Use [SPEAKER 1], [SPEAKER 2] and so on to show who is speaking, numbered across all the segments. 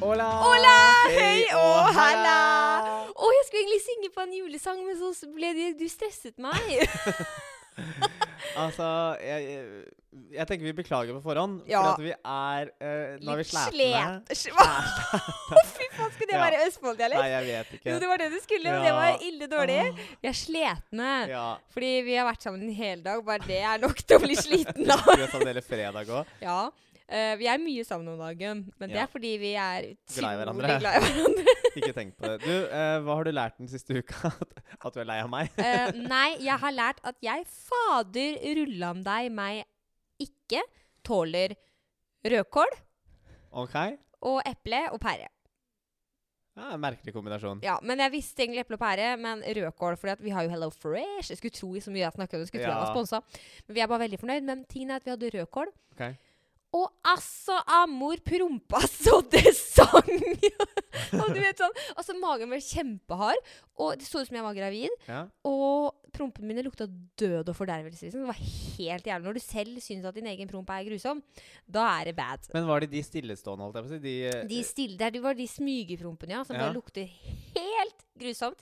[SPEAKER 1] Hola!
[SPEAKER 2] Hola, hei og halla!
[SPEAKER 1] halla!
[SPEAKER 2] Å, jeg skulle egentlig synge på en julesang, men så ble det, du stresset meg.
[SPEAKER 1] Altså, jeg, jeg- jeg tenker vi beklager på forhånd, for
[SPEAKER 2] Ja.
[SPEAKER 1] at vi er eh, Nå er vi
[SPEAKER 2] Litt
[SPEAKER 1] sletne.
[SPEAKER 2] slet- Hva fy faen, skulle det
[SPEAKER 1] Ja.
[SPEAKER 2] være
[SPEAKER 1] Nei,
[SPEAKER 2] Østfold-dialekt?
[SPEAKER 1] jeg vet
[SPEAKER 2] Jo,
[SPEAKER 1] ikke.
[SPEAKER 2] det var det du skulle, men
[SPEAKER 1] Ja.
[SPEAKER 2] det var ille dårlig. Vi er sletne.
[SPEAKER 1] Ja.
[SPEAKER 2] Fordi vi har vært sammen en hel dag, bare det er nok til å bli sliten av.
[SPEAKER 1] Vi er sammen hele fredag òg.
[SPEAKER 2] Ja. eh, vi er mye sammen om dagen, men det
[SPEAKER 1] Ja.
[SPEAKER 2] er fordi vi er
[SPEAKER 1] Glad i
[SPEAKER 2] utrolig
[SPEAKER 1] hverandre.
[SPEAKER 2] glad i hverandre.
[SPEAKER 1] Ikke tenk på det. Du, eh, hva har du lært den siste uka? At, at du er lei av meg?
[SPEAKER 2] Eh, nei, jeg har lært at jeg fader rulla om deg meg ikke tåler rødkål
[SPEAKER 1] OK?
[SPEAKER 2] og eple og pære.
[SPEAKER 1] Ja, en merkelig kombinasjon.
[SPEAKER 2] Ja, men jeg visste egentlig eple og pære, men rødkål fordi at vi har jo Hello Fresh. Jeg skulle tro i så mye jeg snakket om, jeg skulle tro jeg
[SPEAKER 1] Ja.
[SPEAKER 2] var sponsa. Men vi er bare veldig fornøyd. Men tingen er at vi hadde rødkål.
[SPEAKER 1] Ok.
[SPEAKER 2] Og altså, amor prompa så det sang! og du vet sånn, altså magen ble kjempehard, og det så ut som jeg var gravid.
[SPEAKER 1] Ja.
[SPEAKER 2] Og prompene mine lukta død og fordervelse. Liksom. Det var helt jævlig. Når du selv syns at din egen promp er grusom, da er det bad.
[SPEAKER 1] Men var det de stillestående, holdt jeg på å si? De, eh,
[SPEAKER 2] De stille der, det var de smygeprompene, ja, som
[SPEAKER 1] Ja.
[SPEAKER 2] bare lukter helt grusomt.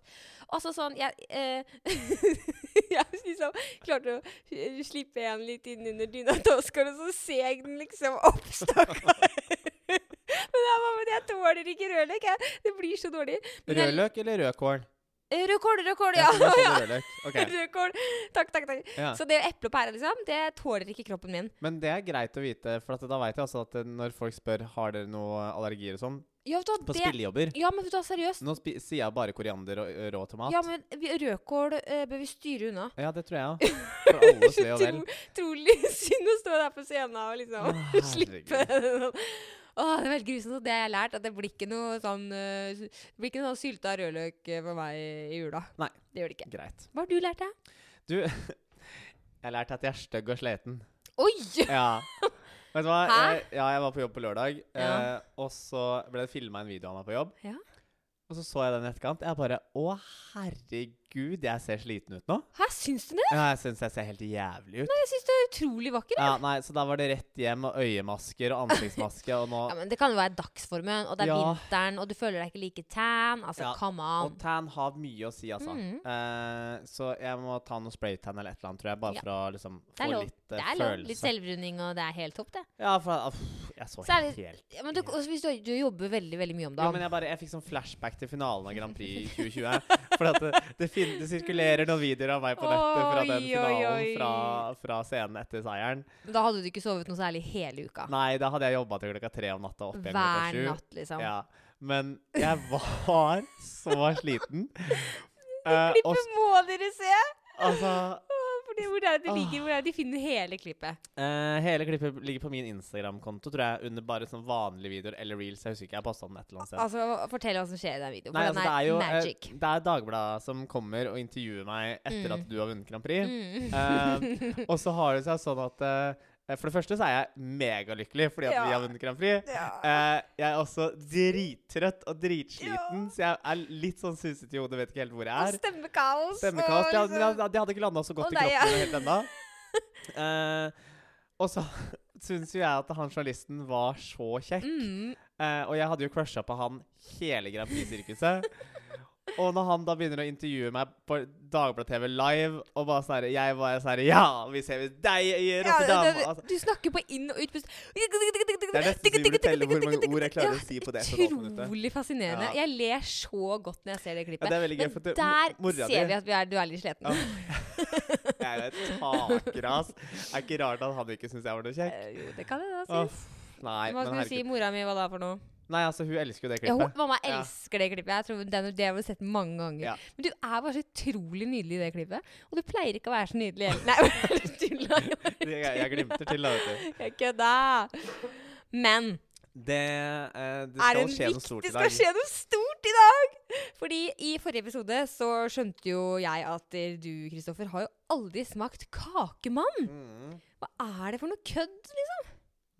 [SPEAKER 2] Altså sånn Jeg, eh, jeg liksom klarte å slippe en litt inn under dyna til Oskar, og så seg den liksom opp, stakkar. Men jeg bare, men jeg tåler ikke rødløk. Jeg. Det blir så dårlig. Men jeg-
[SPEAKER 1] Rødløk eller rødkål?
[SPEAKER 2] Eh, Rødkål, rødkål,
[SPEAKER 1] Jeg
[SPEAKER 2] ja.
[SPEAKER 1] tror det er
[SPEAKER 2] ja.
[SPEAKER 1] sånn rødløk. Ok.
[SPEAKER 2] Rødkål. Takk, takk, takk.
[SPEAKER 1] Ja.
[SPEAKER 2] Så det eple og pære, liksom, det tåler ikke kroppen min.
[SPEAKER 1] Men det er greit å vite, for at da veit jeg også at eh, når folk spør har dere noe allergier og sånn,
[SPEAKER 2] Ja, vet du, hva,
[SPEAKER 1] på
[SPEAKER 2] det,
[SPEAKER 1] spillejobber
[SPEAKER 2] ja men vet du hva, seriøst.
[SPEAKER 1] Nå spi sier jeg bare koriander og ø, rå tomat.
[SPEAKER 2] Ja, men vi- rødkål eh, bør vi styre unna.
[SPEAKER 1] Ja, det tror jeg òg. For alles ve og vel.
[SPEAKER 2] Utro- Utrolig synd å stå der på scenen og liksom
[SPEAKER 1] Å,
[SPEAKER 2] slippe Åh, det er veldig grusomt. og Det har jeg lært, at det blir ikke noe sånn eh, s- Det blir ikke noe sylta rødløk eh, for meg i jula.
[SPEAKER 1] Nei.
[SPEAKER 2] Det gjør det ikke.
[SPEAKER 1] Greit.
[SPEAKER 2] Hva har du lært, deg?
[SPEAKER 1] Jeg lærte at jeg er stygg og sliten.
[SPEAKER 2] Oi!
[SPEAKER 1] Ja. Vet du hva?
[SPEAKER 2] Hæ?
[SPEAKER 1] Jeg, ja, jeg var på jobb på lørdag,
[SPEAKER 2] Ja.
[SPEAKER 1] eh, og så ble det filma en video av meg på jobb.
[SPEAKER 2] Ja.
[SPEAKER 1] Og så så jeg den i etterkant. Jeg bare Å, herregud, jeg ser sliten ut nå.
[SPEAKER 2] Hæ, syns du det?
[SPEAKER 1] Ja, jeg syns jeg ser helt jævlig ut.
[SPEAKER 2] Jeg syns du er utrolig vakker.
[SPEAKER 1] Ja, nei, Så da var det rett hjem og øyemasker og ansiktsmaske, og nå
[SPEAKER 2] Ja, men Det kan jo være dagsformen, og det er
[SPEAKER 1] Ja.
[SPEAKER 2] vinteren, og du føler deg ikke like tan. Altså,
[SPEAKER 1] Ja,
[SPEAKER 2] come
[SPEAKER 1] Og
[SPEAKER 2] on.
[SPEAKER 1] tan har mye å si, altså.
[SPEAKER 2] Mm.
[SPEAKER 1] Eh, så jeg må ta noe spraytan eller et eller annet, tror jeg. Bare
[SPEAKER 2] Ja.
[SPEAKER 1] for å liksom
[SPEAKER 2] Det er
[SPEAKER 1] få
[SPEAKER 2] lov.
[SPEAKER 1] litt eh,
[SPEAKER 2] Det er lov.
[SPEAKER 1] følelse.
[SPEAKER 2] Litt selvbruning, og det er helt topp, det.
[SPEAKER 1] Ja, for uff, jeg så
[SPEAKER 2] Så er det-
[SPEAKER 1] helt
[SPEAKER 2] Ja, men du, også hvis du, du jobber veldig veldig mye om
[SPEAKER 1] ja,
[SPEAKER 2] dagen.
[SPEAKER 1] men jeg, bare, jeg fikk sånn flashback til finalen av Grand Prix 2020. For at det, det, fin, det sirkulerer noen videoer av meg på nettet fra den
[SPEAKER 2] Oi, oi,
[SPEAKER 1] finalen
[SPEAKER 2] oi.
[SPEAKER 1] fra, fra scenen etter seieren.
[SPEAKER 2] Men da hadde du ikke sovet noe særlig hele uka.
[SPEAKER 1] Nei, da hadde jeg jobba til klokka tre om natta og opp igjen klokka
[SPEAKER 2] Hver
[SPEAKER 1] sju.
[SPEAKER 2] natt, liksom.
[SPEAKER 1] Ja, men jeg var så sliten. Eh, og
[SPEAKER 2] Klippet
[SPEAKER 1] s-
[SPEAKER 2] må dere se!
[SPEAKER 1] altså
[SPEAKER 2] For det, hvor er det
[SPEAKER 1] Åh.
[SPEAKER 2] ligger, hvor er det de finner hele klippet.
[SPEAKER 1] Eh, hele klippet ligger på min Instagram-konto, tror jeg. Under bare sånn vanlige videoer eller reels. Jeg husker ikke, jeg posta den et eller annet sted.
[SPEAKER 2] Altså, Fortell hva som skjer i den videoen.
[SPEAKER 1] Nei,
[SPEAKER 2] for
[SPEAKER 1] altså,
[SPEAKER 2] den
[SPEAKER 1] det er jo eh,
[SPEAKER 2] magic.
[SPEAKER 1] Det er Dagbladet som kommer og intervjuer meg etter
[SPEAKER 2] Mm.
[SPEAKER 1] at du har vunnet Grand Prix.
[SPEAKER 2] Mm.
[SPEAKER 1] Eh, og så har det seg sånn at eh, For det første så er jeg megalykkelig fordi at
[SPEAKER 2] Ja.
[SPEAKER 1] vi har vunnet Grand Prix. Eh, jeg er også drittrøtt og dritsliten,
[SPEAKER 2] Ja.
[SPEAKER 1] så jeg er litt sånn susete i hodet, vet ikke helt hvor jeg er.
[SPEAKER 2] Stemmekaos.
[SPEAKER 1] Stemmekaos.
[SPEAKER 2] og
[SPEAKER 1] Ja, men altså,
[SPEAKER 2] liksom-
[SPEAKER 1] jeg- de hadde ikke landa så godt
[SPEAKER 2] Å,
[SPEAKER 1] i
[SPEAKER 2] nei, ja.
[SPEAKER 1] kroppen helt ennå. Eh, og så syns jo jeg at han journalisten var så kjekk.
[SPEAKER 2] mm.
[SPEAKER 1] Eh, og jeg hadde jo crusha på han hele Grand Prix-sirkuset. og når han da begynner å intervjue meg på Dagbladet TV live, og bare sånn her Jeg var sånn her Ja, vi ser deg i
[SPEAKER 2] Ja, det-
[SPEAKER 1] Rotterdam!
[SPEAKER 2] det-
[SPEAKER 1] Altså,
[SPEAKER 2] du snakker på inn- og utpust
[SPEAKER 1] det er nesten så jeg vil telle hvor mange ord jeg klarer å si på det. etter nå, på dette.
[SPEAKER 2] Utrolig fascinerende.
[SPEAKER 1] Ja.
[SPEAKER 2] Jeg ler så godt når jeg ser det
[SPEAKER 1] Ja,
[SPEAKER 2] klippet.
[SPEAKER 1] det er veldig gøy,
[SPEAKER 2] Men
[SPEAKER 1] for at det-
[SPEAKER 2] der
[SPEAKER 1] mo- mora
[SPEAKER 2] ser
[SPEAKER 1] di-
[SPEAKER 2] vi at vi er, du er litt sliten.
[SPEAKER 1] Ja. Jeg er et takras. Det er ikke rart at han ikke syns jeg var noe kjekk.
[SPEAKER 2] Eh, jo, det kan jeg da si.
[SPEAKER 1] Uff, nei,
[SPEAKER 2] Eh, Hva
[SPEAKER 1] men
[SPEAKER 2] skal du si?
[SPEAKER 1] herregud.
[SPEAKER 2] Mora mi, hva da for noe?
[SPEAKER 1] Nei, altså, hun elsker jo det
[SPEAKER 2] Ja, hun,
[SPEAKER 1] klippet.
[SPEAKER 2] mamma
[SPEAKER 1] Ja.
[SPEAKER 2] elsker det klippet. Jeg tror den, Det har vi sett mange ganger.
[SPEAKER 1] Ja.
[SPEAKER 2] Men du er bare så utrolig nydelig i det klippet. Og du pleier ikke å være så nydelig heller. Nei, bare tulla. jeg bare
[SPEAKER 1] Jeg, jeg glimter til, da, vet du.
[SPEAKER 2] tulla. Jeg kødda. Men
[SPEAKER 1] Det, eh, det
[SPEAKER 2] er
[SPEAKER 1] skal
[SPEAKER 2] en
[SPEAKER 1] skje noe
[SPEAKER 2] viktig
[SPEAKER 1] stort
[SPEAKER 2] Det
[SPEAKER 1] i
[SPEAKER 2] skal
[SPEAKER 1] dag.
[SPEAKER 2] skje noe stort i dag! Fordi i forrige episode så skjønte jo jeg at eh, du, Kristoffer, har jo aldri smakt kakemann.
[SPEAKER 1] Mm.
[SPEAKER 2] Hva er det for noe kødd?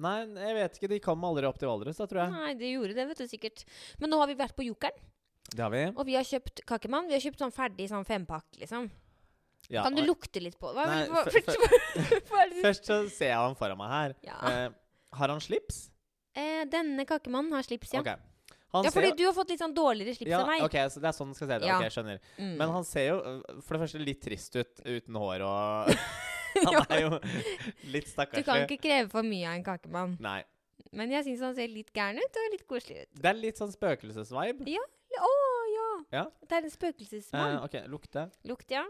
[SPEAKER 1] Nei, jeg vet ikke. De kom aldri opp til Valdres, da, tror jeg.
[SPEAKER 2] Nei, det gjorde det, vet du sikkert. Men nå har vi vært på Jokeren,
[SPEAKER 1] Det har vi.
[SPEAKER 2] og vi har kjøpt kakemann. Vi har kjøpt sånn ferdig sånn fempakk, liksom.
[SPEAKER 1] Ja,
[SPEAKER 2] kan du
[SPEAKER 1] og-
[SPEAKER 2] lukte litt på hva,
[SPEAKER 1] Nei,
[SPEAKER 2] hva,
[SPEAKER 1] fø-
[SPEAKER 2] først, hva er det du-
[SPEAKER 1] Først så ser jeg han foran meg her.
[SPEAKER 2] ja.
[SPEAKER 1] Eh, har han slips?
[SPEAKER 2] eh, Denne kakemannen har slips, ja.
[SPEAKER 1] Ok. Han
[SPEAKER 2] Ja, fordi
[SPEAKER 1] ser jo
[SPEAKER 2] du har fått litt sånn dårligere slips
[SPEAKER 1] ja,
[SPEAKER 2] enn meg.
[SPEAKER 1] OK, så det er sånn du skal se det.
[SPEAKER 2] Ja.
[SPEAKER 1] Ok, jeg skjønner.
[SPEAKER 2] Mm.
[SPEAKER 1] Men han ser jo øh, for det første litt trist ut uten hår og Han er jo litt
[SPEAKER 2] Du kan
[SPEAKER 1] stakkarslig.
[SPEAKER 2] ikke kreve for mye av en kakemann.
[SPEAKER 1] Nei.
[SPEAKER 2] Men jeg syns han ser litt gæren ut, og litt koselig ut.
[SPEAKER 1] Det er litt sånn spøkelsesvibe.
[SPEAKER 2] Å ja.
[SPEAKER 1] Ja.
[SPEAKER 2] Det er en
[SPEAKER 1] Eh,
[SPEAKER 2] spøkelsesmann.
[SPEAKER 1] OK, lukte.
[SPEAKER 2] Lukt, ja.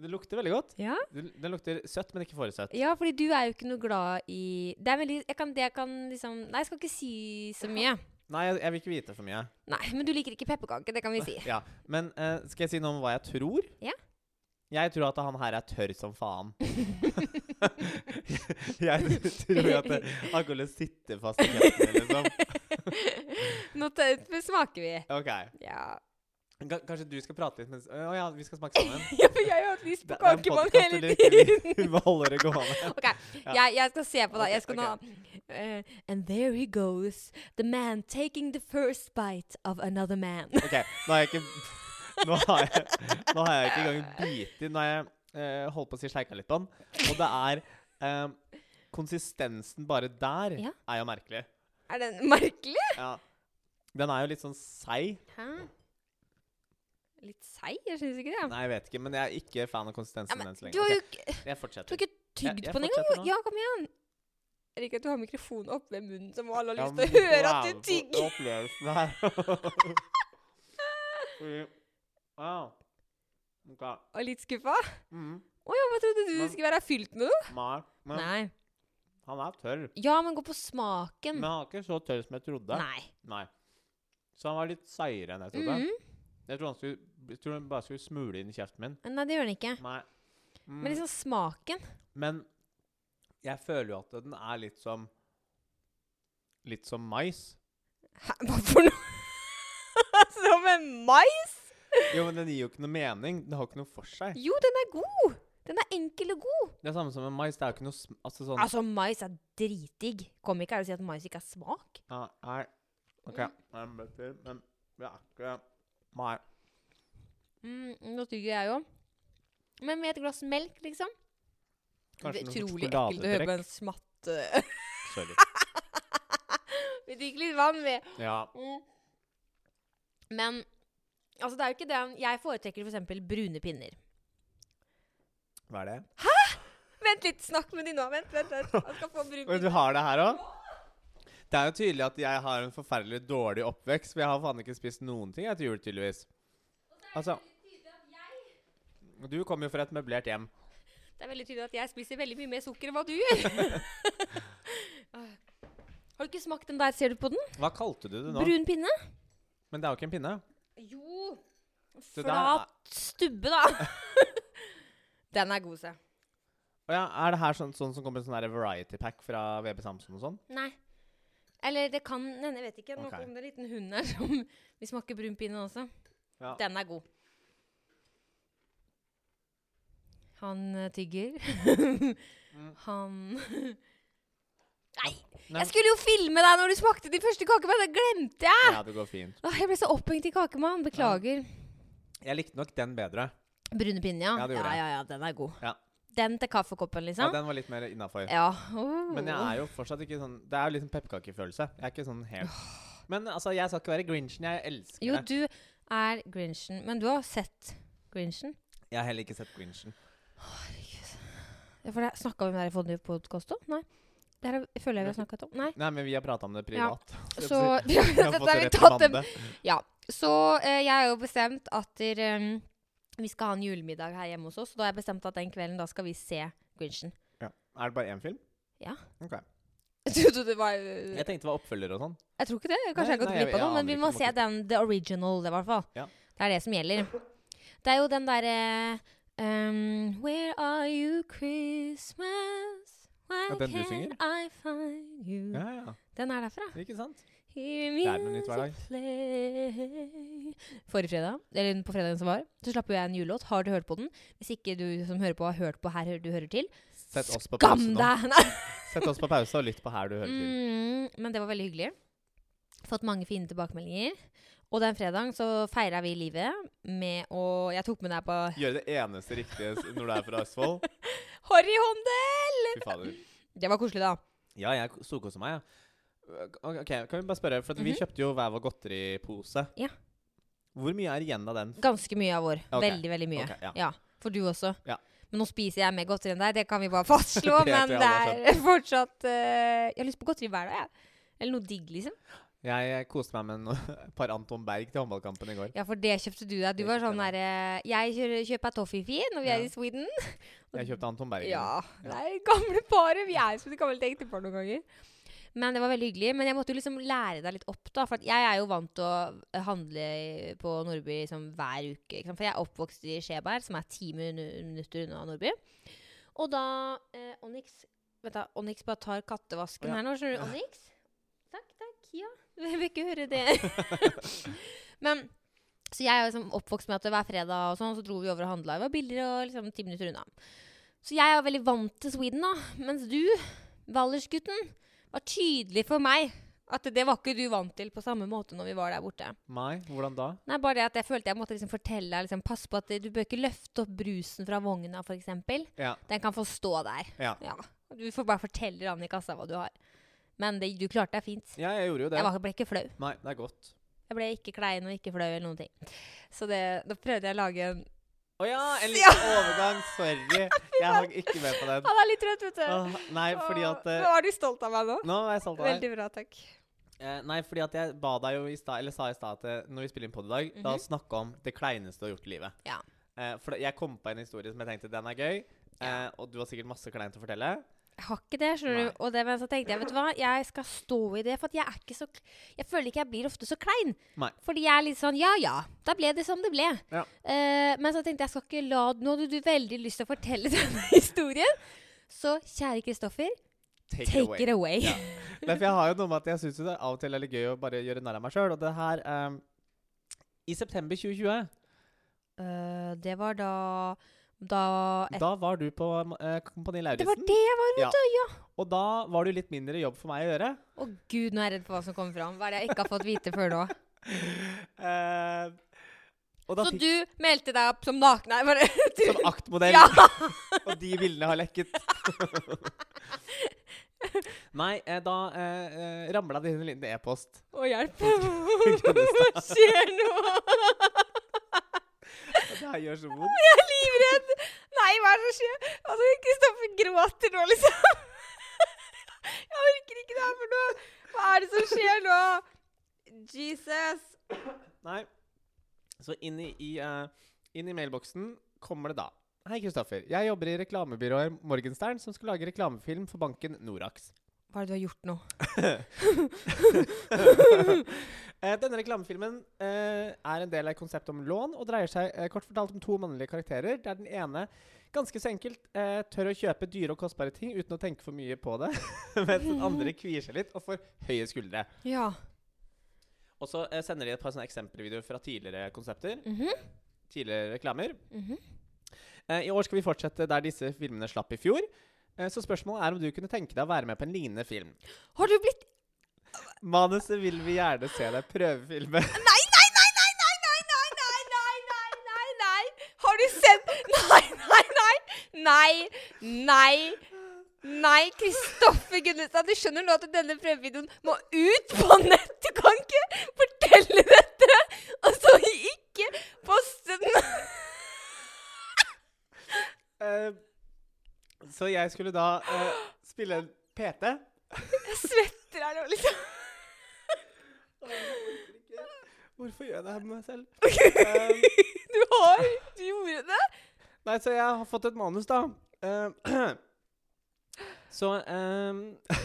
[SPEAKER 1] Det lukter veldig godt.
[SPEAKER 2] Ja.
[SPEAKER 1] Det, det lukter søtt, men ikke for søtt.
[SPEAKER 2] Ja, fordi du er jo ikke noe glad i Det er veldig jeg kan, Det jeg kan liksom Nei, jeg skal ikke si så mye.
[SPEAKER 1] Nei, jeg, jeg vil ikke vite for mye.
[SPEAKER 2] Nei, men du liker ikke pepperkake, det kan vi si.
[SPEAKER 1] Ja, Men eh, skal jeg si noe om hva jeg tror?
[SPEAKER 2] Ja.
[SPEAKER 1] Jeg tror at han her er tørr som faen. jeg tror at det- han kommer til å sitte fast i kjeften, liksom.
[SPEAKER 2] Nå t- smaker vi.
[SPEAKER 1] Ok.
[SPEAKER 2] Ja.
[SPEAKER 1] Ka- Kanskje du skal prate litt mens Å ja, vi skal smake sammen?
[SPEAKER 2] ja, for jeg har hatt lyst på
[SPEAKER 1] Det- det er en
[SPEAKER 2] kakemann
[SPEAKER 1] podcast
[SPEAKER 2] hele
[SPEAKER 1] eller
[SPEAKER 2] tiden.
[SPEAKER 1] Vi må holde det gående.
[SPEAKER 2] Ok, jeg, jeg skal se på det.
[SPEAKER 1] Ok,
[SPEAKER 2] Jeg skal nå Eh, And there he goes, the man taking the first bite of another man.
[SPEAKER 1] Ok, nå har jeg ikke Nå har jeg, nå har jeg ikke engang bitt i Nå har jeg eh, holdt på å si sleika litt på den. Og det er eh, Konsistensen bare der
[SPEAKER 2] Ja.
[SPEAKER 1] er jo merkelig.
[SPEAKER 2] Er den merkelig?
[SPEAKER 1] Ja. Den er jo litt sånn seig.
[SPEAKER 2] Hæ? Litt seig? Jeg syns ikke det.
[SPEAKER 1] Nei, jeg vet ikke, men jeg er ikke fan av konsistensen
[SPEAKER 2] Ja, men
[SPEAKER 1] Sånn enn så lenge.
[SPEAKER 2] du har jo
[SPEAKER 1] Ok,
[SPEAKER 2] ikke,
[SPEAKER 1] jeg
[SPEAKER 2] du har
[SPEAKER 1] fortsetter.
[SPEAKER 2] ikke
[SPEAKER 1] Jeg-
[SPEAKER 2] tygd
[SPEAKER 1] jeg
[SPEAKER 2] på den
[SPEAKER 1] fortsetter nå.
[SPEAKER 2] engang. Ja, kom igjen. Jeg liker at du har mikrofonen opp ved munnen, så må alle ha
[SPEAKER 1] Ja,
[SPEAKER 2] lyst
[SPEAKER 1] men
[SPEAKER 2] til å høre at
[SPEAKER 1] wow,
[SPEAKER 2] du tygger.
[SPEAKER 1] for Opplevelsen her. Fordi- Wow. Ok.
[SPEAKER 2] Og litt skuffa?
[SPEAKER 1] Mm.
[SPEAKER 2] Å ja, hva trodde du
[SPEAKER 1] Men-
[SPEAKER 2] skulle være fylt med noe?
[SPEAKER 1] Nei, men
[SPEAKER 2] Nei.
[SPEAKER 1] han er tørr.
[SPEAKER 2] Ja, men gå på smaken.
[SPEAKER 1] Men han er ikke så tørr som jeg trodde.
[SPEAKER 2] Nei.
[SPEAKER 1] Nei. Så han var litt seigere enn jeg trodde.
[SPEAKER 2] Mhm.
[SPEAKER 1] Jeg tror han skulle, jeg tror han bare skulle smule inn i kjeften min.
[SPEAKER 2] Nei, det gjør den ikke.
[SPEAKER 1] Nei. Mm.
[SPEAKER 2] Men liksom smaken
[SPEAKER 1] Men jeg føler jo at den er litt som Litt som mais.
[SPEAKER 2] Hæ, hva for noe? Som en mais?
[SPEAKER 1] Jo, men den gir jo ikke noe mening. Den har ikke noe for seg.
[SPEAKER 2] Jo, den er god. Den er enkel og god.
[SPEAKER 1] Det er samme som en mais. Det er jo ikke noe sm Altså sånn
[SPEAKER 2] Altså, mais er dritdigg. Kom ikke her og si at mais ikke er smak.
[SPEAKER 1] Ja, nei. OK. Den ble til, men det er ikke Nei.
[SPEAKER 2] Mm, nå tygger jeg jo. Men med et glass melk, liksom.
[SPEAKER 1] Kanskje
[SPEAKER 2] Det
[SPEAKER 1] noe
[SPEAKER 2] er
[SPEAKER 1] sånn
[SPEAKER 2] Utrolig ekkelt å høre på
[SPEAKER 1] sjokoladetrekk.
[SPEAKER 2] en smatte.
[SPEAKER 1] Sorry.
[SPEAKER 2] Vi drikker litt vann, vi.
[SPEAKER 1] Ja.
[SPEAKER 2] Mm. Men altså, det er jo ikke det Jeg foretrekker f.eks. brune pinner.
[SPEAKER 1] Hva er det?
[SPEAKER 2] Vent litt, snakk med de nå. Vent, vent, vent. Han skal få brun
[SPEAKER 1] Oi, du
[SPEAKER 2] pinne.
[SPEAKER 1] har det her òg? Det er jo tydelig at jeg har en forferdelig dårlig oppvekst, for jeg har faen ikke spist noen ting etter jul, tydeligvis. Altså Du kommer jo fra et møblert hjem.
[SPEAKER 2] Det er veldig tydelig at jeg spiser veldig mye mer sukker enn hva du gjør. Ah. Har du ikke smakt den der? Ser du på den?
[SPEAKER 1] Hva kalte du det nå?
[SPEAKER 2] Brun pinne?
[SPEAKER 1] Men det er jo ikke en pinne.
[SPEAKER 2] Jo.
[SPEAKER 1] der
[SPEAKER 2] Flat stubbe, da. den er god, se.
[SPEAKER 1] Å ja, er det her sånn, sånn som kommer i sånn der variety pack fra VB Samson og sånn?
[SPEAKER 2] Nei. Eller det kan hende, jeg vet ikke. Nå
[SPEAKER 1] Ok.
[SPEAKER 2] kom det en liten hund her som Vi smaker brun pinne også.
[SPEAKER 1] Ja.
[SPEAKER 2] Den er god. Han eh, tygger.
[SPEAKER 1] Mm.
[SPEAKER 2] Han Nei!
[SPEAKER 1] Nei.
[SPEAKER 2] Jeg skulle jo filme deg når du smakte din første kakemann! Det glemte jeg!
[SPEAKER 1] Ja, det går fint.
[SPEAKER 2] Åh, jeg ble så opphengt i kakemann. Beklager.
[SPEAKER 1] Jeg likte nok den bedre.
[SPEAKER 2] Brune pinne, ja.
[SPEAKER 1] Ja, det gjorde
[SPEAKER 2] ja,
[SPEAKER 1] jeg.
[SPEAKER 2] ja, ja, den er god.
[SPEAKER 1] Ja.
[SPEAKER 2] Den til kaffekoppen,
[SPEAKER 1] Ja,
[SPEAKER 2] liksom?
[SPEAKER 1] den var litt mer innafor.
[SPEAKER 2] Ja. Oh. Åh.
[SPEAKER 1] Men jeg er jo fortsatt ikke sånn Det er jo litt sånn pepperkakefølelse. Jeg er ikke sånn helt Men altså, jeg skal ikke være grinchen. Jeg elsker
[SPEAKER 2] Jo,
[SPEAKER 1] det.
[SPEAKER 2] du er Grinchen. Men du har sett Grinchen?
[SPEAKER 1] Jeg har heller ikke sett grinchen.
[SPEAKER 2] Ja, for det Snakka vi om det her i forrige podkast òg? Nei. Det her føler jeg vi har snakket om. Nei.
[SPEAKER 1] Nei, men vi har prata om det privat.
[SPEAKER 2] Så
[SPEAKER 1] Jeg har
[SPEAKER 2] Dette
[SPEAKER 1] fått
[SPEAKER 2] har vi
[SPEAKER 1] rett
[SPEAKER 2] tatt en
[SPEAKER 1] mandag.
[SPEAKER 2] Så eh, jeg har jo bestemt at der, em, vi skal ha en julemiddag her hjemme hos oss. Og da har jeg bestemt at den kvelden da skal vi se Grinchen.
[SPEAKER 1] Ja. Er det bare én film?
[SPEAKER 2] Ja.
[SPEAKER 1] Ok.
[SPEAKER 2] Jeg trodde det var
[SPEAKER 1] Jeg tenkte det var oppfølger og sånn.
[SPEAKER 2] Jeg tror ikke det.
[SPEAKER 1] Nei,
[SPEAKER 2] Kanskje jeg har gått
[SPEAKER 1] nei, jeg-
[SPEAKER 2] glipp
[SPEAKER 1] jeg
[SPEAKER 2] av noe, men
[SPEAKER 1] aner
[SPEAKER 2] vi
[SPEAKER 1] ikke, jeg
[SPEAKER 2] må
[SPEAKER 1] må
[SPEAKER 2] se
[SPEAKER 1] ikke-
[SPEAKER 2] den The Original, det, i hvert fall.
[SPEAKER 1] Ja.
[SPEAKER 2] Det er det som gjelder. Det er jo den derre um, Where are you Christmas? Why
[SPEAKER 1] Ja, den du synger?
[SPEAKER 2] can't I find you?
[SPEAKER 1] Ja, ja.
[SPEAKER 2] Den er derfra.
[SPEAKER 1] Ikke sant?
[SPEAKER 2] Hear
[SPEAKER 1] er den
[SPEAKER 2] music
[SPEAKER 1] litt hver dag.
[SPEAKER 2] play. Forrige fredag, eller på fredagen som var, så slapp jo jeg en julelåt. Har du hørt på den? Hvis ikke du som hører på, har hørt på her du hører til,
[SPEAKER 1] Sett oss på
[SPEAKER 2] gam
[SPEAKER 1] pause nå.
[SPEAKER 2] deg! Nei.
[SPEAKER 1] Sett oss på pause og lytt på her du hører til.
[SPEAKER 2] Mm, men det var veldig hyggelig. Fått mange fine tilbakemeldinger. Og den fredagen så feira vi livet med å Jeg tok med deg på
[SPEAKER 1] Gjøre det eneste riktige s- når du er fra Østfold.
[SPEAKER 2] Horry Håndel!
[SPEAKER 1] Fy fader.
[SPEAKER 2] Det var koselig, da.
[SPEAKER 1] Ja, jeg storkoser meg, jeg. Ok, Kan vi bare spørre, for at vi
[SPEAKER 2] Mhm.
[SPEAKER 1] kjøpte jo hver vår godteripose.
[SPEAKER 2] Ja.
[SPEAKER 1] Hvor mye er igjen av den?
[SPEAKER 2] Ganske mye av vår.
[SPEAKER 1] Ok.
[SPEAKER 2] Veldig, veldig mye.
[SPEAKER 1] Ok, ja.
[SPEAKER 2] Ja, for du også.
[SPEAKER 1] Ja.
[SPEAKER 2] Men nå spiser jeg mer godteri enn deg, det kan vi bare fastslå.
[SPEAKER 1] Det tror jeg
[SPEAKER 2] men det
[SPEAKER 1] alle
[SPEAKER 2] er fortsatt eh, Jeg har lyst på godteri hver dag, jeg. Eller noe digg, liksom.
[SPEAKER 1] Jeg koste meg med noe- et par Anton Berg til håndballkampen i går.
[SPEAKER 2] Ja, for det kjøpte du deg. Du
[SPEAKER 1] Det
[SPEAKER 2] var
[SPEAKER 1] kjøpte
[SPEAKER 2] sånn
[SPEAKER 1] jeg
[SPEAKER 2] derre Jeg kjører- kjøper toffifee når vi
[SPEAKER 1] Ja.
[SPEAKER 2] er i Sweden.
[SPEAKER 1] Jeg kjøpte Anton Berg. i går.
[SPEAKER 2] Ja. Det er gamle paret. Vi er jo som det gamle ektepar noen ganger. Men det var veldig hyggelig. Men jeg måtte jo liksom lære deg litt opp, da. For at jeg er jo vant til å handle i- på Nordby liksom hver uke. Ikke sant? For jeg er oppvokst i Skjeberg, som er ti minu- minutter unna Nordby. Og da eh, Onyx Vent, da. Onyx bare tar kattevasken
[SPEAKER 1] Å, ja.
[SPEAKER 2] her nå. Skjønner du? Onyx? Takk, takk. Ja. Jeg vil ikke høre det. Men så jeg er jo liksom oppvokst med at det hver fredag og sånn, så dro vi over og handla. Det var billigere og liksom ti minutter unna. Så jeg er jo veldig vant til Sweden, da. Mens du, Vallersgutten, var tydelig for meg at det var ikke du vant til på samme måte når vi var der borte.
[SPEAKER 1] Nei, hvordan da?
[SPEAKER 2] Nei, bare det at jeg følte jeg måtte liksom fortelle deg liksom, Pass på at du bør ikke løfte opp brusen fra vogna, f.eks.
[SPEAKER 1] Ja.
[SPEAKER 2] Den kan få stå der.
[SPEAKER 1] Ja.
[SPEAKER 2] Du får bare fortelle han i kassa hva du har. Men det, du klarte deg fint.
[SPEAKER 1] ja, jeg gjorde jo det.
[SPEAKER 2] Jeg var, ble ikke flau.
[SPEAKER 1] Nei, det er godt.
[SPEAKER 2] Jeg ble ikke klein og ikke flau eller noen ting. Så det, da prøvde jeg å lage en
[SPEAKER 1] Å ja, en
[SPEAKER 2] Ja.
[SPEAKER 1] liten overgang. Sorry. Jeg hang ikke med på den.
[SPEAKER 2] Han er litt trøtt, vet du.
[SPEAKER 1] Åh, nei, fordi at eh,
[SPEAKER 2] Var du stolt av meg nå?
[SPEAKER 1] Nå er jeg stolt av deg.
[SPEAKER 2] Veldig bra, takk.
[SPEAKER 1] Eh, nei, fordi at jeg ba deg jo i stad, eller sa i stad at eh, når vi spiller inn på i dag, da snakke om det kleineste du har gjort i livet.
[SPEAKER 2] Mhm. Ja.
[SPEAKER 1] Eh, for jeg kom på en historie som jeg tenkte den er gøy,
[SPEAKER 2] Ja.
[SPEAKER 1] eh, og du har sikkert masse kleint å fortelle.
[SPEAKER 2] Jeg har ikke det, skjønner
[SPEAKER 1] Nei.
[SPEAKER 2] du. Og det, men så tenkte jeg, vet du hva, jeg skal stå i det. For at jeg er ikke så kl- Jeg føler ikke jeg blir ofte så klein.
[SPEAKER 1] Nei.
[SPEAKER 2] Fordi jeg er litt sånn ja ja, da ble det som det ble.
[SPEAKER 1] Ja.
[SPEAKER 2] Eh, men så tenkte jeg, jeg skal ikke la Nå hadde du veldig lyst til å fortelle denne historien. Så kjære Kristoffer,
[SPEAKER 1] Take,
[SPEAKER 2] take, it away.
[SPEAKER 1] Ja. Nei, for jeg har jo noe med at jeg syns det av og til er litt gøy å bare gjøre narr av meg sjøl, og det her eh, I september 2020,
[SPEAKER 2] Eh, det var da Da et,
[SPEAKER 1] da var du på eh, Kompani
[SPEAKER 2] Det var
[SPEAKER 1] Lauritzen.
[SPEAKER 2] det jeg var,
[SPEAKER 1] Ja.
[SPEAKER 2] vet du. Ja.
[SPEAKER 1] Og da var det jo litt mindre jobb for meg å gjøre.
[SPEAKER 2] Å gud, nå er jeg redd for hva som kommer fram. Hva er det jeg ikke har fått vite før nå?
[SPEAKER 1] Eh, og da
[SPEAKER 2] Så
[SPEAKER 1] fikk
[SPEAKER 2] du meldte deg opp som naken? Nei, bare
[SPEAKER 1] jeg som aktmodell.
[SPEAKER 2] Ja!
[SPEAKER 1] Og de bildene har lekket. Nei, eh, da eh, eh, ramla det inn en liten e-post.
[SPEAKER 2] Å, hjelp.
[SPEAKER 1] Køddestad.
[SPEAKER 2] Hva skjer nå?
[SPEAKER 1] Og Det her gjør så vondt.
[SPEAKER 2] Jeg er livredd. Nei, hva er det som skjer? Altså, Kristoffer gråter nå, liksom. Jeg orker ikke det her for noe. Hva er det som skjer nå? Jesus.
[SPEAKER 1] Nei. Så inn i, i, eh, inn i mailboksen kommer det da. Hei, Kristoffer. Jeg jobber i reklamebyrået Morgenstern, som skal lage reklamefilm for banken Norax.
[SPEAKER 2] Hva er det du har gjort nå?
[SPEAKER 1] Eh, Denne reklamefilmen eh, er en del av et konsept om lån, og dreier seg eh, kort fortalt om to mannlige karakterer, der den ene ganske så enkelt eh, tør å kjøpe dyre og kostbare ting uten å tenke for mye på det, mens den andre kvier seg litt og får høye skuldre.
[SPEAKER 2] Ja.
[SPEAKER 1] Og så eh, sender de et par sånne eksempelvideoer fra tidligere konsepter,
[SPEAKER 2] Mhm,
[SPEAKER 1] tidligere reklamer.
[SPEAKER 2] mhm.
[SPEAKER 1] Eh, I år skal vi fortsette der disse filmene slapp i fjor. Eh, Så spørsmålet er om du kunne tenke deg å være med på en lignende film.
[SPEAKER 2] Har du blitt
[SPEAKER 1] Manuset vil vi gjerne se deg prøvefilme.
[SPEAKER 2] Nei, nei, nei, nei, nei, nei, nei, nei, nei, nei, nei, nei. Har du sett Nei, nei, nei. Nei, nei. Nei, Kristoffer Gunnestad, du skjønner nå at denne prøvevideoen må ut på nett. Du kan ikke fortelle dette, og så ikke poste den.
[SPEAKER 1] Eh, Så jeg skulle da eh, spille en PT.
[SPEAKER 2] Jeg svetter her nå, liksom.
[SPEAKER 1] Hvorfor gjør jeg det her med meg selv? Eh,
[SPEAKER 2] Du har Du gjorde det.
[SPEAKER 1] Nei, så jeg har fått et manus, da. Eh, så eh,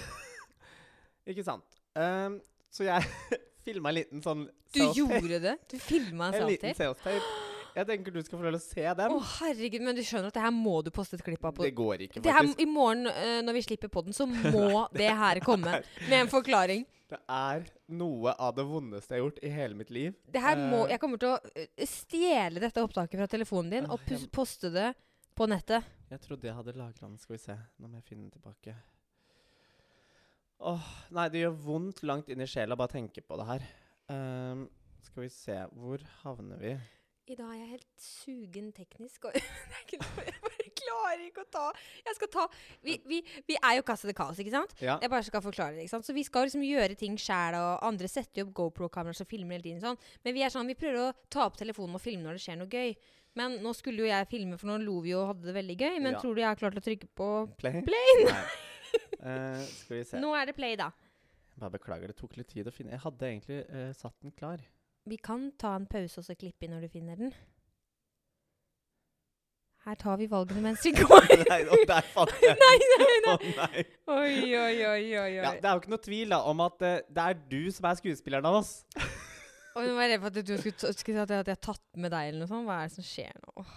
[SPEAKER 1] Ikke sant. Eh, så jeg filma en liten sånn self-tape.
[SPEAKER 2] det? Du filma
[SPEAKER 1] En liten self-tape. Jeg tenker du skal få lov til å se
[SPEAKER 2] Å,
[SPEAKER 1] den.
[SPEAKER 2] herregud, men du skjønner at det her må du poste et klipp av på
[SPEAKER 1] det går ikke,
[SPEAKER 2] Det her,
[SPEAKER 1] faktisk.
[SPEAKER 2] I morgen eh, når vi slipper podden, så må det her komme med en forklaring.
[SPEAKER 1] Det er noe av det vondeste jeg har gjort i hele mitt liv.
[SPEAKER 2] Det her må,
[SPEAKER 1] Eh.
[SPEAKER 2] jeg kommer til å eh, stjele dette opptaket fra telefonen din
[SPEAKER 1] Åh,
[SPEAKER 2] og pus
[SPEAKER 1] jeg-
[SPEAKER 2] poste det på nettet.
[SPEAKER 1] Jeg trodde jeg hadde lagra den. Skal vi se. Nå må jeg finne den tilbake. Åh, Nei, det gjør vondt langt inn i sjela bare å tenke på det her. Ehm, skal vi se Hvor havner vi?
[SPEAKER 2] I dag er jeg helt sugen teknisk. Og jeg, bare, jeg bare klarer ikke å ta Jeg skal ta Vi, vi, vi er jo Casa de Caos, ikke sant?
[SPEAKER 1] Ja.
[SPEAKER 2] Jeg bare skal forklare det, ikke sant? Så vi skal liksom gjøre ting sjæl, og andre setter jo opp GoPro-kameraer som filmer hele tiden. sånn. Men vi er sånn, vi prøver å ta opp telefonen og filme når det skjer noe gøy. Men nå skulle jo jeg filme, for nå lo vi jo og hadde det veldig gøy. Men
[SPEAKER 1] Ja.
[SPEAKER 2] tror du jeg har klart å trykke på
[SPEAKER 1] Play?
[SPEAKER 2] play?
[SPEAKER 1] Nei. Eh, skal vi se.
[SPEAKER 2] Nå er det play, da.
[SPEAKER 1] Bare beklager, det tok litt tid å finne Jeg hadde egentlig eh, satt den klar.
[SPEAKER 2] Vi kan ta en pause og så klippe inn når du finner den. Her tar vi valgene mens vi går.
[SPEAKER 1] nei, å, der fant jeg den.
[SPEAKER 2] nei, nei, nei.
[SPEAKER 1] Å, nei.
[SPEAKER 2] Oi, oi, oi, oi. oi.
[SPEAKER 1] Ja, det er jo ikke noe tvil da, om at eh, det er du som er skuespilleren av oss.
[SPEAKER 2] Og nå var jeg redd for at du skulle, ta- skulle si at jeg at jeg har tatt med deg eller noe sånt. Hva er det som skjer nå? Åh.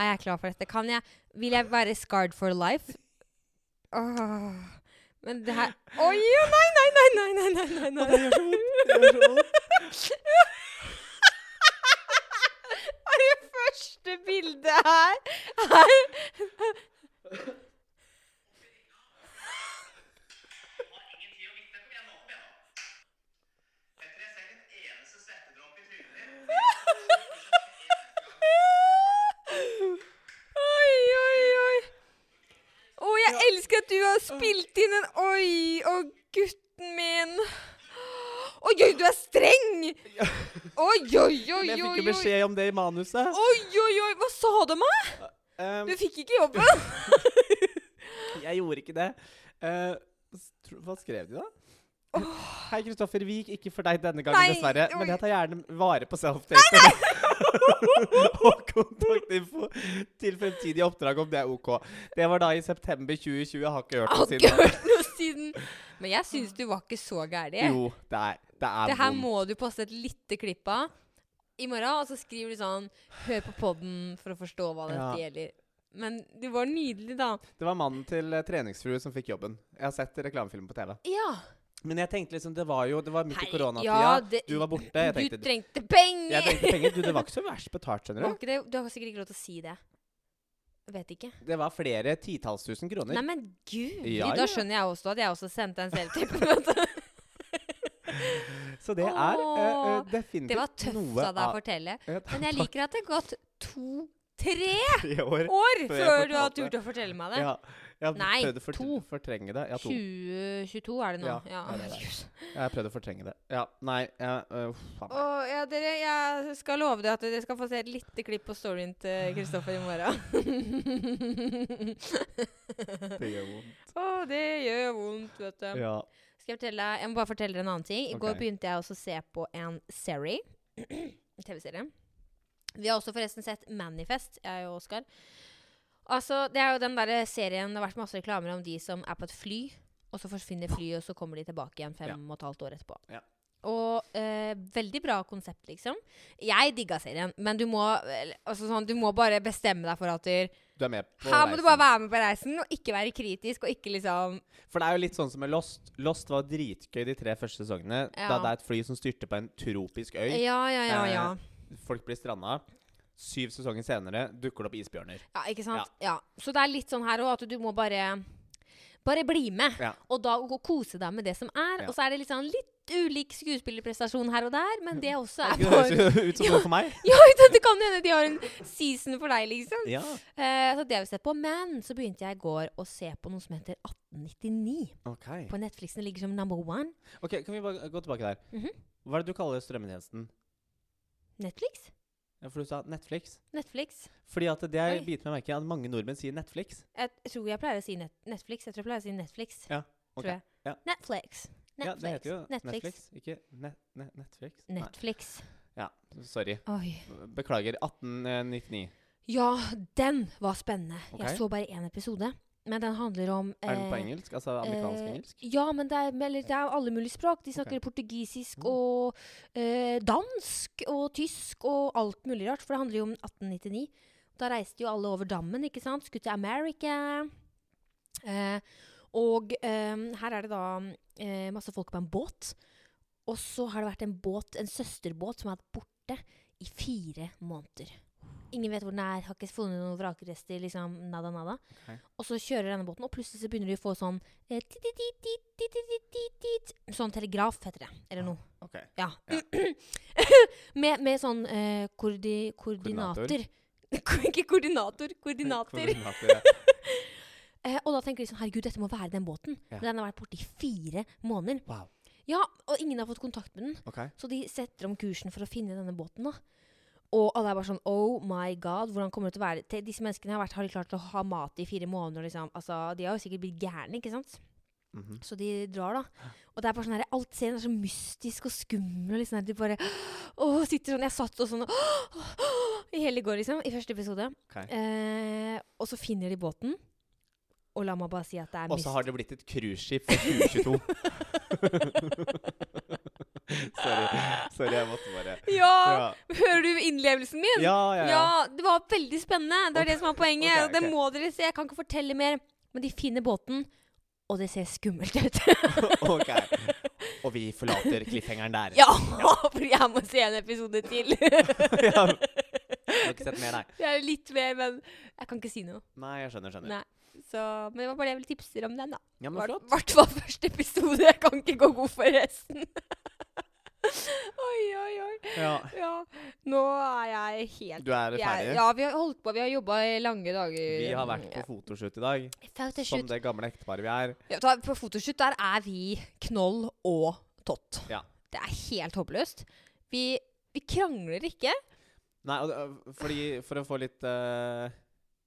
[SPEAKER 2] Er jeg klar for dette? Kan jeg, vil jeg være scarred for life? Åh. Men det her Oi, jo, nei, nei, nei, nei, nei, nei, nei,
[SPEAKER 1] Å,
[SPEAKER 2] nei.
[SPEAKER 1] det gjør så vondt, det gjør så
[SPEAKER 2] Og det første bildet her er
[SPEAKER 3] ingen tid å vite. Kom igjen, nå. Kom igjen, nå. Petter, jeg ser ikke en eneste svettedråpe i trynet ditt.
[SPEAKER 2] Oi, oi, oi. Å, jeg elsker at du har spilt inn en Oi, å, gutten min. Oi, oi, du er streng! Oi, oi, oi,
[SPEAKER 1] Men jeg
[SPEAKER 2] oi.
[SPEAKER 1] fikk jo
[SPEAKER 2] oi.
[SPEAKER 1] beskjed om det i manuset.
[SPEAKER 2] Oi, oi, oi, hva sa du meg?
[SPEAKER 1] Um,
[SPEAKER 2] Du fikk ikke jobben.
[SPEAKER 1] jeg gjorde ikke det. Eh, s- tro- hva skrev de, da? Hei, Kristoffer Wiik. Ikke for deg denne gangen,
[SPEAKER 2] Nei,
[SPEAKER 1] dessverre.
[SPEAKER 2] oi.
[SPEAKER 1] Men jeg tar gjerne vare på self-tape og kontaktinfo til fremtidige oppdrag, om det er OK. Det var da i september 2020. Jeg har ikke hørt
[SPEAKER 2] Jeg
[SPEAKER 1] noe
[SPEAKER 2] har ikke
[SPEAKER 1] siden.
[SPEAKER 2] hørt noe siden. Men jeg syns du var ikke så gæren.
[SPEAKER 1] Jo, det er, det er
[SPEAKER 2] Det her
[SPEAKER 1] vondt.
[SPEAKER 2] må du poste et lite klipp av i morgen, og så skriver du sånn Hør på podden for å forstå hva dette
[SPEAKER 1] Ja.
[SPEAKER 2] gjelder. Men du var nydelig, da.
[SPEAKER 1] Det var mannen til eh, treningsfrue som fikk jobben. Jeg har sett reklamefilmen på TV.
[SPEAKER 2] Ja.
[SPEAKER 1] Men jeg tenkte liksom, det var jo det var midt i
[SPEAKER 2] Hei,
[SPEAKER 1] koronatida.
[SPEAKER 2] ja, det-
[SPEAKER 1] du var borte. Jeg
[SPEAKER 2] Du
[SPEAKER 1] tenkte,
[SPEAKER 2] trengte penger!
[SPEAKER 1] jeg tenkte penger. Du, det var ikke så verst betalt,
[SPEAKER 2] Var
[SPEAKER 1] skjønner du.
[SPEAKER 2] ikke det, du har sikkert ikke lov til å si det. Jeg vet ikke.
[SPEAKER 1] Det var flere titalls tusen kroner.
[SPEAKER 2] Nei, men gud!
[SPEAKER 1] Ja, ja.
[SPEAKER 2] Da skjønner jeg også at jeg også sendte en selvtipp.
[SPEAKER 1] Så det er eh, eh,
[SPEAKER 2] Åh,
[SPEAKER 1] definitivt
[SPEAKER 2] Det var tøft
[SPEAKER 1] noe
[SPEAKER 2] av deg å fortelle. Men jeg liker at det har gått to-tre
[SPEAKER 1] i år.
[SPEAKER 2] år
[SPEAKER 1] Før jeg
[SPEAKER 2] før du har
[SPEAKER 1] fortalte.
[SPEAKER 2] turt å fortelle meg det.
[SPEAKER 1] Ja, jeg har
[SPEAKER 2] Nei,
[SPEAKER 1] prøvd å fort-
[SPEAKER 2] to.
[SPEAKER 1] fortrenge det. Ja, to.
[SPEAKER 2] 2022 er det nå.
[SPEAKER 1] Ja,
[SPEAKER 2] Ja.
[SPEAKER 1] det er det. Jeg har prøvd å fortrenge det. Ja, nei jeg, eh, uff, faen meg.
[SPEAKER 2] Og ja, dere, jeg skal love dere at dere skal få se et lite klipp på storyen til Kristoffer i morgen.
[SPEAKER 1] Det gjør vondt.
[SPEAKER 2] Å, det gjør vondt, vet du.
[SPEAKER 1] Ja.
[SPEAKER 2] Skal jeg fortelle deg Jeg må bare fortelle deg en annen ting. I går
[SPEAKER 1] Ok.
[SPEAKER 2] begynte jeg også å se på en serie. En TV-serie. Vi har også forresten sett Manifest, jeg og Oskar. Altså, det er jo den derre serien Det har vært masse reklamer om de som er på et fly, og så forsvinner flyet, og så kommer de tilbake igjen fem
[SPEAKER 1] Ja.
[SPEAKER 2] og et halvt år etterpå.
[SPEAKER 1] Ja.
[SPEAKER 2] Og eh, veldig bra konsept, liksom. Jeg digga serien, men du må, eller, altså, sånn, du må bare bestemme deg for at du,
[SPEAKER 1] Du er med på
[SPEAKER 2] Her må du
[SPEAKER 1] reisen.
[SPEAKER 2] bare være med på reisen, og ikke være kritisk, og ikke liksom
[SPEAKER 1] For det er jo litt sånn som med Lost. Lost var dritgøy de tre første sesongene. Da
[SPEAKER 2] Ja.
[SPEAKER 1] det er et fly som styrter på en tropisk øy.
[SPEAKER 2] Ja, ja, ja,
[SPEAKER 1] Eh,
[SPEAKER 2] ja.
[SPEAKER 1] Folk blir stranda. Syv sesonger senere dukker det opp isbjørner.
[SPEAKER 2] Ja, ikke sant? Ja. Så det er litt sånn her òg at du må bare Bare bli med,
[SPEAKER 1] Ja.
[SPEAKER 2] og da gå- kose deg med det som er.
[SPEAKER 1] Ja.
[SPEAKER 2] Og så er det litt sånn litt ulik skuespillerprestasjon her og der, men det også er
[SPEAKER 1] Det
[SPEAKER 2] for
[SPEAKER 1] høres jo ut som noe for meg.
[SPEAKER 2] Ja, ikke sant? det kan hende de har en season for deg, liksom.
[SPEAKER 1] Ja.
[SPEAKER 2] Eh, så det har vi sett på. Men så begynte jeg i går å se på noe som heter 1899.
[SPEAKER 1] Ok.
[SPEAKER 2] På Netflix den ligger som number one.
[SPEAKER 1] Ok, Kan vi bare gå tilbake der.
[SPEAKER 2] Mhm.
[SPEAKER 1] Hva er det du kaller strømmetjenesten?
[SPEAKER 2] Netflix?
[SPEAKER 1] Ja, For du sa Netflix.
[SPEAKER 2] Netflix.
[SPEAKER 1] Fordi at det jeg
[SPEAKER 2] Oi.
[SPEAKER 1] biter meg merke i, er at mange nordmenn sier Netflix.
[SPEAKER 2] Jeg tror jeg pleier å si net Netflix. Jeg tror jeg pleier å si Netflix.
[SPEAKER 1] Ja, ok.
[SPEAKER 2] Tror jeg.
[SPEAKER 1] Ja.
[SPEAKER 2] Netflix.
[SPEAKER 1] Ja, det
[SPEAKER 2] Netflix.
[SPEAKER 1] heter jo
[SPEAKER 2] Netflix.
[SPEAKER 1] Netflix. Ikke ne ne Netflix. Nei.
[SPEAKER 2] Netflix.
[SPEAKER 1] Ja, sorry.
[SPEAKER 2] Oi.
[SPEAKER 1] Beklager. 1899.
[SPEAKER 2] Ja, den var spennende.
[SPEAKER 1] Ok.
[SPEAKER 2] Jeg så bare én episode. Men den handler om
[SPEAKER 1] Er den på
[SPEAKER 2] eh,
[SPEAKER 1] engelsk? Altså amerikansk
[SPEAKER 2] eh,
[SPEAKER 1] engelsk?
[SPEAKER 2] Ja, men det er, men- eller, det er alle mulige språk. De snakker
[SPEAKER 1] Mm.
[SPEAKER 2] portugisisk og eh, dansk og tysk og alt mulig rart. For det handler jo om 1899. Da reiste jo alle over dammen, ikke sant? Skulle til America. Eh, og eh, her er det da eh, masse folk på en båt. Og så har det vært en båt, en søsterbåt som har vært borte i fire måneder. Ingen vet hvor den er, har ikke funnet noen vrakrester. liksom, nada, nada.
[SPEAKER 1] Ok.
[SPEAKER 2] Og så kjører denne båten, og plutselig så begynner de å få sånn eh, tit, tit, tit, tit, tit, tit, tit, tit. Sånn telegraf, heter det. Eller noe.
[SPEAKER 1] Ok.
[SPEAKER 2] Ja. med, med sånn eh, koordi, koordinater. Ikke koordinator, koordinater.
[SPEAKER 1] Koordinater, ja.
[SPEAKER 2] Eh, og da tenker vi sånn Herregud, dette må være den båten.
[SPEAKER 1] Ja.
[SPEAKER 2] Men den har vært borte i fire måneder.
[SPEAKER 1] Wow.
[SPEAKER 2] Ja, og ingen har fått kontakt med den.
[SPEAKER 1] Ok.
[SPEAKER 2] Så de setter om kursen for å finne denne båten, da. Og alle er bare sånn Oh my god, hvordan kommer det til å være? Til disse menneskene har, vært, har de klart å ha mat i fire måneder, liksom. Altså, de har jo sikkert blitt gærne, ikke sant?
[SPEAKER 1] Mhm.
[SPEAKER 2] Så de drar, da. Og det er bare sånn her, alt serien er så mystisk og skummel. og Liksom, her, de bare åh, sitter sånn, Jeg satt og sånn åh, åh, i hele går, liksom. I første episode.
[SPEAKER 1] Ok.
[SPEAKER 2] Eh, og så finner de båten. Og la meg bare si at det er
[SPEAKER 1] Og
[SPEAKER 2] myst.
[SPEAKER 1] så har det blitt et cruiseskip for 2022. Sorry. Sorry, jeg måtte bare
[SPEAKER 2] Ja!
[SPEAKER 1] Ja,
[SPEAKER 2] Hører du innlevelsen min?
[SPEAKER 1] ja, ja. ja.
[SPEAKER 2] Ja, det var veldig spennende. Det er det som er poenget.
[SPEAKER 1] Ok,
[SPEAKER 2] og Det
[SPEAKER 1] ok.
[SPEAKER 2] må dere se. Jeg kan ikke fortelle mer. Men de finner båten, og det ser skummelt ut.
[SPEAKER 1] ok. Og vi forlater cliffhangeren der.
[SPEAKER 2] ja, for jeg må se en episode til.
[SPEAKER 1] Ja. Jeg har ikke sett mer, nei.
[SPEAKER 2] Det er litt mer, men jeg kan ikke si noe.
[SPEAKER 1] Nei, jeg skjønner. skjønner.
[SPEAKER 2] Nei. Så, men det var bare det jeg ville tipse dere om den, da.
[SPEAKER 1] Ja, men
[SPEAKER 2] I
[SPEAKER 1] flott.
[SPEAKER 2] hvert fall første episode. Jeg kan ikke gå god for resten. oi, oi, oi.
[SPEAKER 1] Ja.
[SPEAKER 2] Ja, nå er jeg helt
[SPEAKER 1] Du er
[SPEAKER 2] jeg,
[SPEAKER 1] ferdig?
[SPEAKER 2] Ja, vi har holdt på. Vi har jobba i lange dager.
[SPEAKER 1] Vi har vært på fotoshoot i dag, som
[SPEAKER 2] Photoshoot.
[SPEAKER 1] det gamle ekteparet vi er.
[SPEAKER 2] Ja, da- på fotoshoot der er vi knoll og tott.
[SPEAKER 1] Ja.
[SPEAKER 2] Det er helt håpløst. Vi, vi krangler ikke.
[SPEAKER 1] Nei, og, det- fordi For å få litt eh,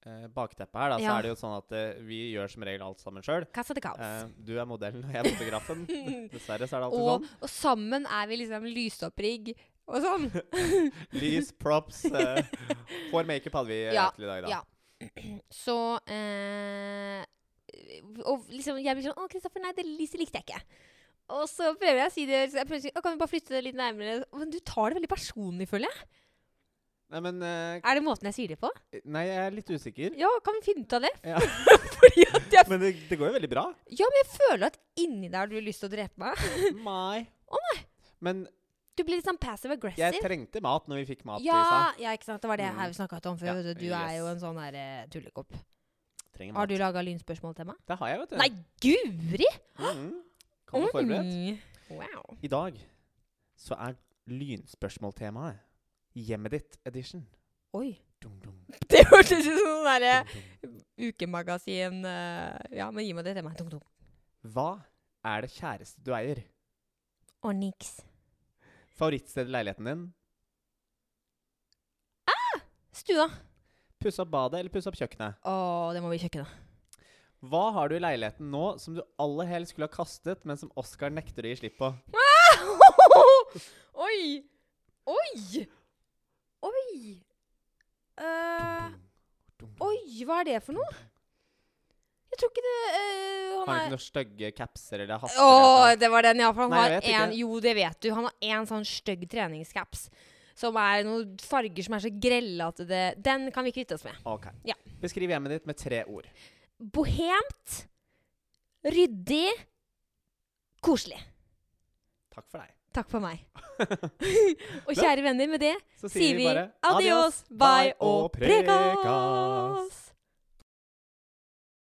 [SPEAKER 1] eh, bakteppe her, da, så
[SPEAKER 2] Ja.
[SPEAKER 1] er det jo sånn at eh, vi gjør som regel alt sammen sjøl.
[SPEAKER 2] Casa de Caos.
[SPEAKER 1] du er modellen, og jeg er fotografen. Dessverre så Eh, er det alltid sånn.
[SPEAKER 2] og, og sammen er vi liksom lysopprigg og sånn.
[SPEAKER 1] sånn. Lys, props eh, Får makeup hadde vi eh,
[SPEAKER 2] Ja,
[SPEAKER 1] til i dag, da.
[SPEAKER 2] ja. Så eh, Og liksom jeg blir sånn Å, Kristoffer, nei, det lyset likte jeg ikke. Og så prøver jeg å si det. Så jeg prøver å si, å, kan vi bare flytte det litt nærmere? Men du tar det veldig personlig, føler jeg.
[SPEAKER 1] Nei, men eh,
[SPEAKER 2] Er det måten jeg sier det på?
[SPEAKER 1] Nei, jeg er litt usikker.
[SPEAKER 2] Ja, kan vi finne ut av det?
[SPEAKER 1] Ja.
[SPEAKER 2] Fordi at jeg
[SPEAKER 1] Men det, det går jo veldig bra.
[SPEAKER 2] Ja, men jeg føler at inni der har du lyst til å drepe meg.
[SPEAKER 1] Nei. Men
[SPEAKER 2] Du blir litt sånn passive
[SPEAKER 1] jeg
[SPEAKER 2] aggressive.
[SPEAKER 1] trengte mat når vi fikk mat i
[SPEAKER 2] Ja,
[SPEAKER 1] stad.
[SPEAKER 2] ja, ikke sant. Det var det
[SPEAKER 1] Mm.
[SPEAKER 2] her vi snakka
[SPEAKER 1] Ja,
[SPEAKER 2] om før. vet du. du er
[SPEAKER 1] yes.
[SPEAKER 2] jo en sånn her eh, tullekopp.
[SPEAKER 1] Trenger
[SPEAKER 2] Har
[SPEAKER 1] mat.
[SPEAKER 2] du laga lynspørsmål til meg?
[SPEAKER 1] Det har jeg, vet du.
[SPEAKER 2] Nei, guri!
[SPEAKER 1] Mhm. Kom forberedt.
[SPEAKER 2] Mm. Wow.
[SPEAKER 1] I dag så er lynspørsmåltemaet Hjemmet ditt edition.
[SPEAKER 2] Oi.
[SPEAKER 1] Dum, dum, dum,
[SPEAKER 2] Det hørtes ut som sånn derre
[SPEAKER 1] dum.
[SPEAKER 2] ukemagasin eh, Ja, men gi meg det til meg. Tung, tung.
[SPEAKER 1] Hva er det kjæreste du eier?
[SPEAKER 2] Og niks.
[SPEAKER 1] Favorittsted i leiligheten din?
[SPEAKER 2] Stua.
[SPEAKER 1] Pusse opp badet eller pusse opp kjøkkenet?
[SPEAKER 2] Å, det må vi i kjøkkenet.
[SPEAKER 1] Hva har du i leiligheten nå som du aller helst skulle ha kastet, men som Oscar nekter å gi slipp på?
[SPEAKER 2] Oi! Oi! Oi! Eh,
[SPEAKER 1] Dum, dum, dum,
[SPEAKER 2] Oi,
[SPEAKER 1] dum.
[SPEAKER 2] hva er det for noe? Jeg tror ikke det eh,
[SPEAKER 1] Har
[SPEAKER 2] Han
[SPEAKER 1] han ikke
[SPEAKER 2] er
[SPEAKER 1] noen stygge capser eller hatter?
[SPEAKER 2] Å,
[SPEAKER 1] eller noe?
[SPEAKER 2] det var den, ja. For han
[SPEAKER 1] Nei, jeg vet
[SPEAKER 2] har en
[SPEAKER 1] ikke.
[SPEAKER 2] Jo, det vet du. Han har en sånn stygg treningscaps. Som er noen farger som er så grelle at det Den kan vi kvitte oss med.
[SPEAKER 1] Ok.
[SPEAKER 2] Ja.
[SPEAKER 1] Beskriv hjemmet ditt med tre ord.
[SPEAKER 2] Bohemt, ryddig, koselig.
[SPEAKER 1] Takk for deg.
[SPEAKER 2] Takk for meg. og kjære venner, med det
[SPEAKER 1] Så
[SPEAKER 2] sier vi
[SPEAKER 1] bare
[SPEAKER 2] adios, bye og prekas.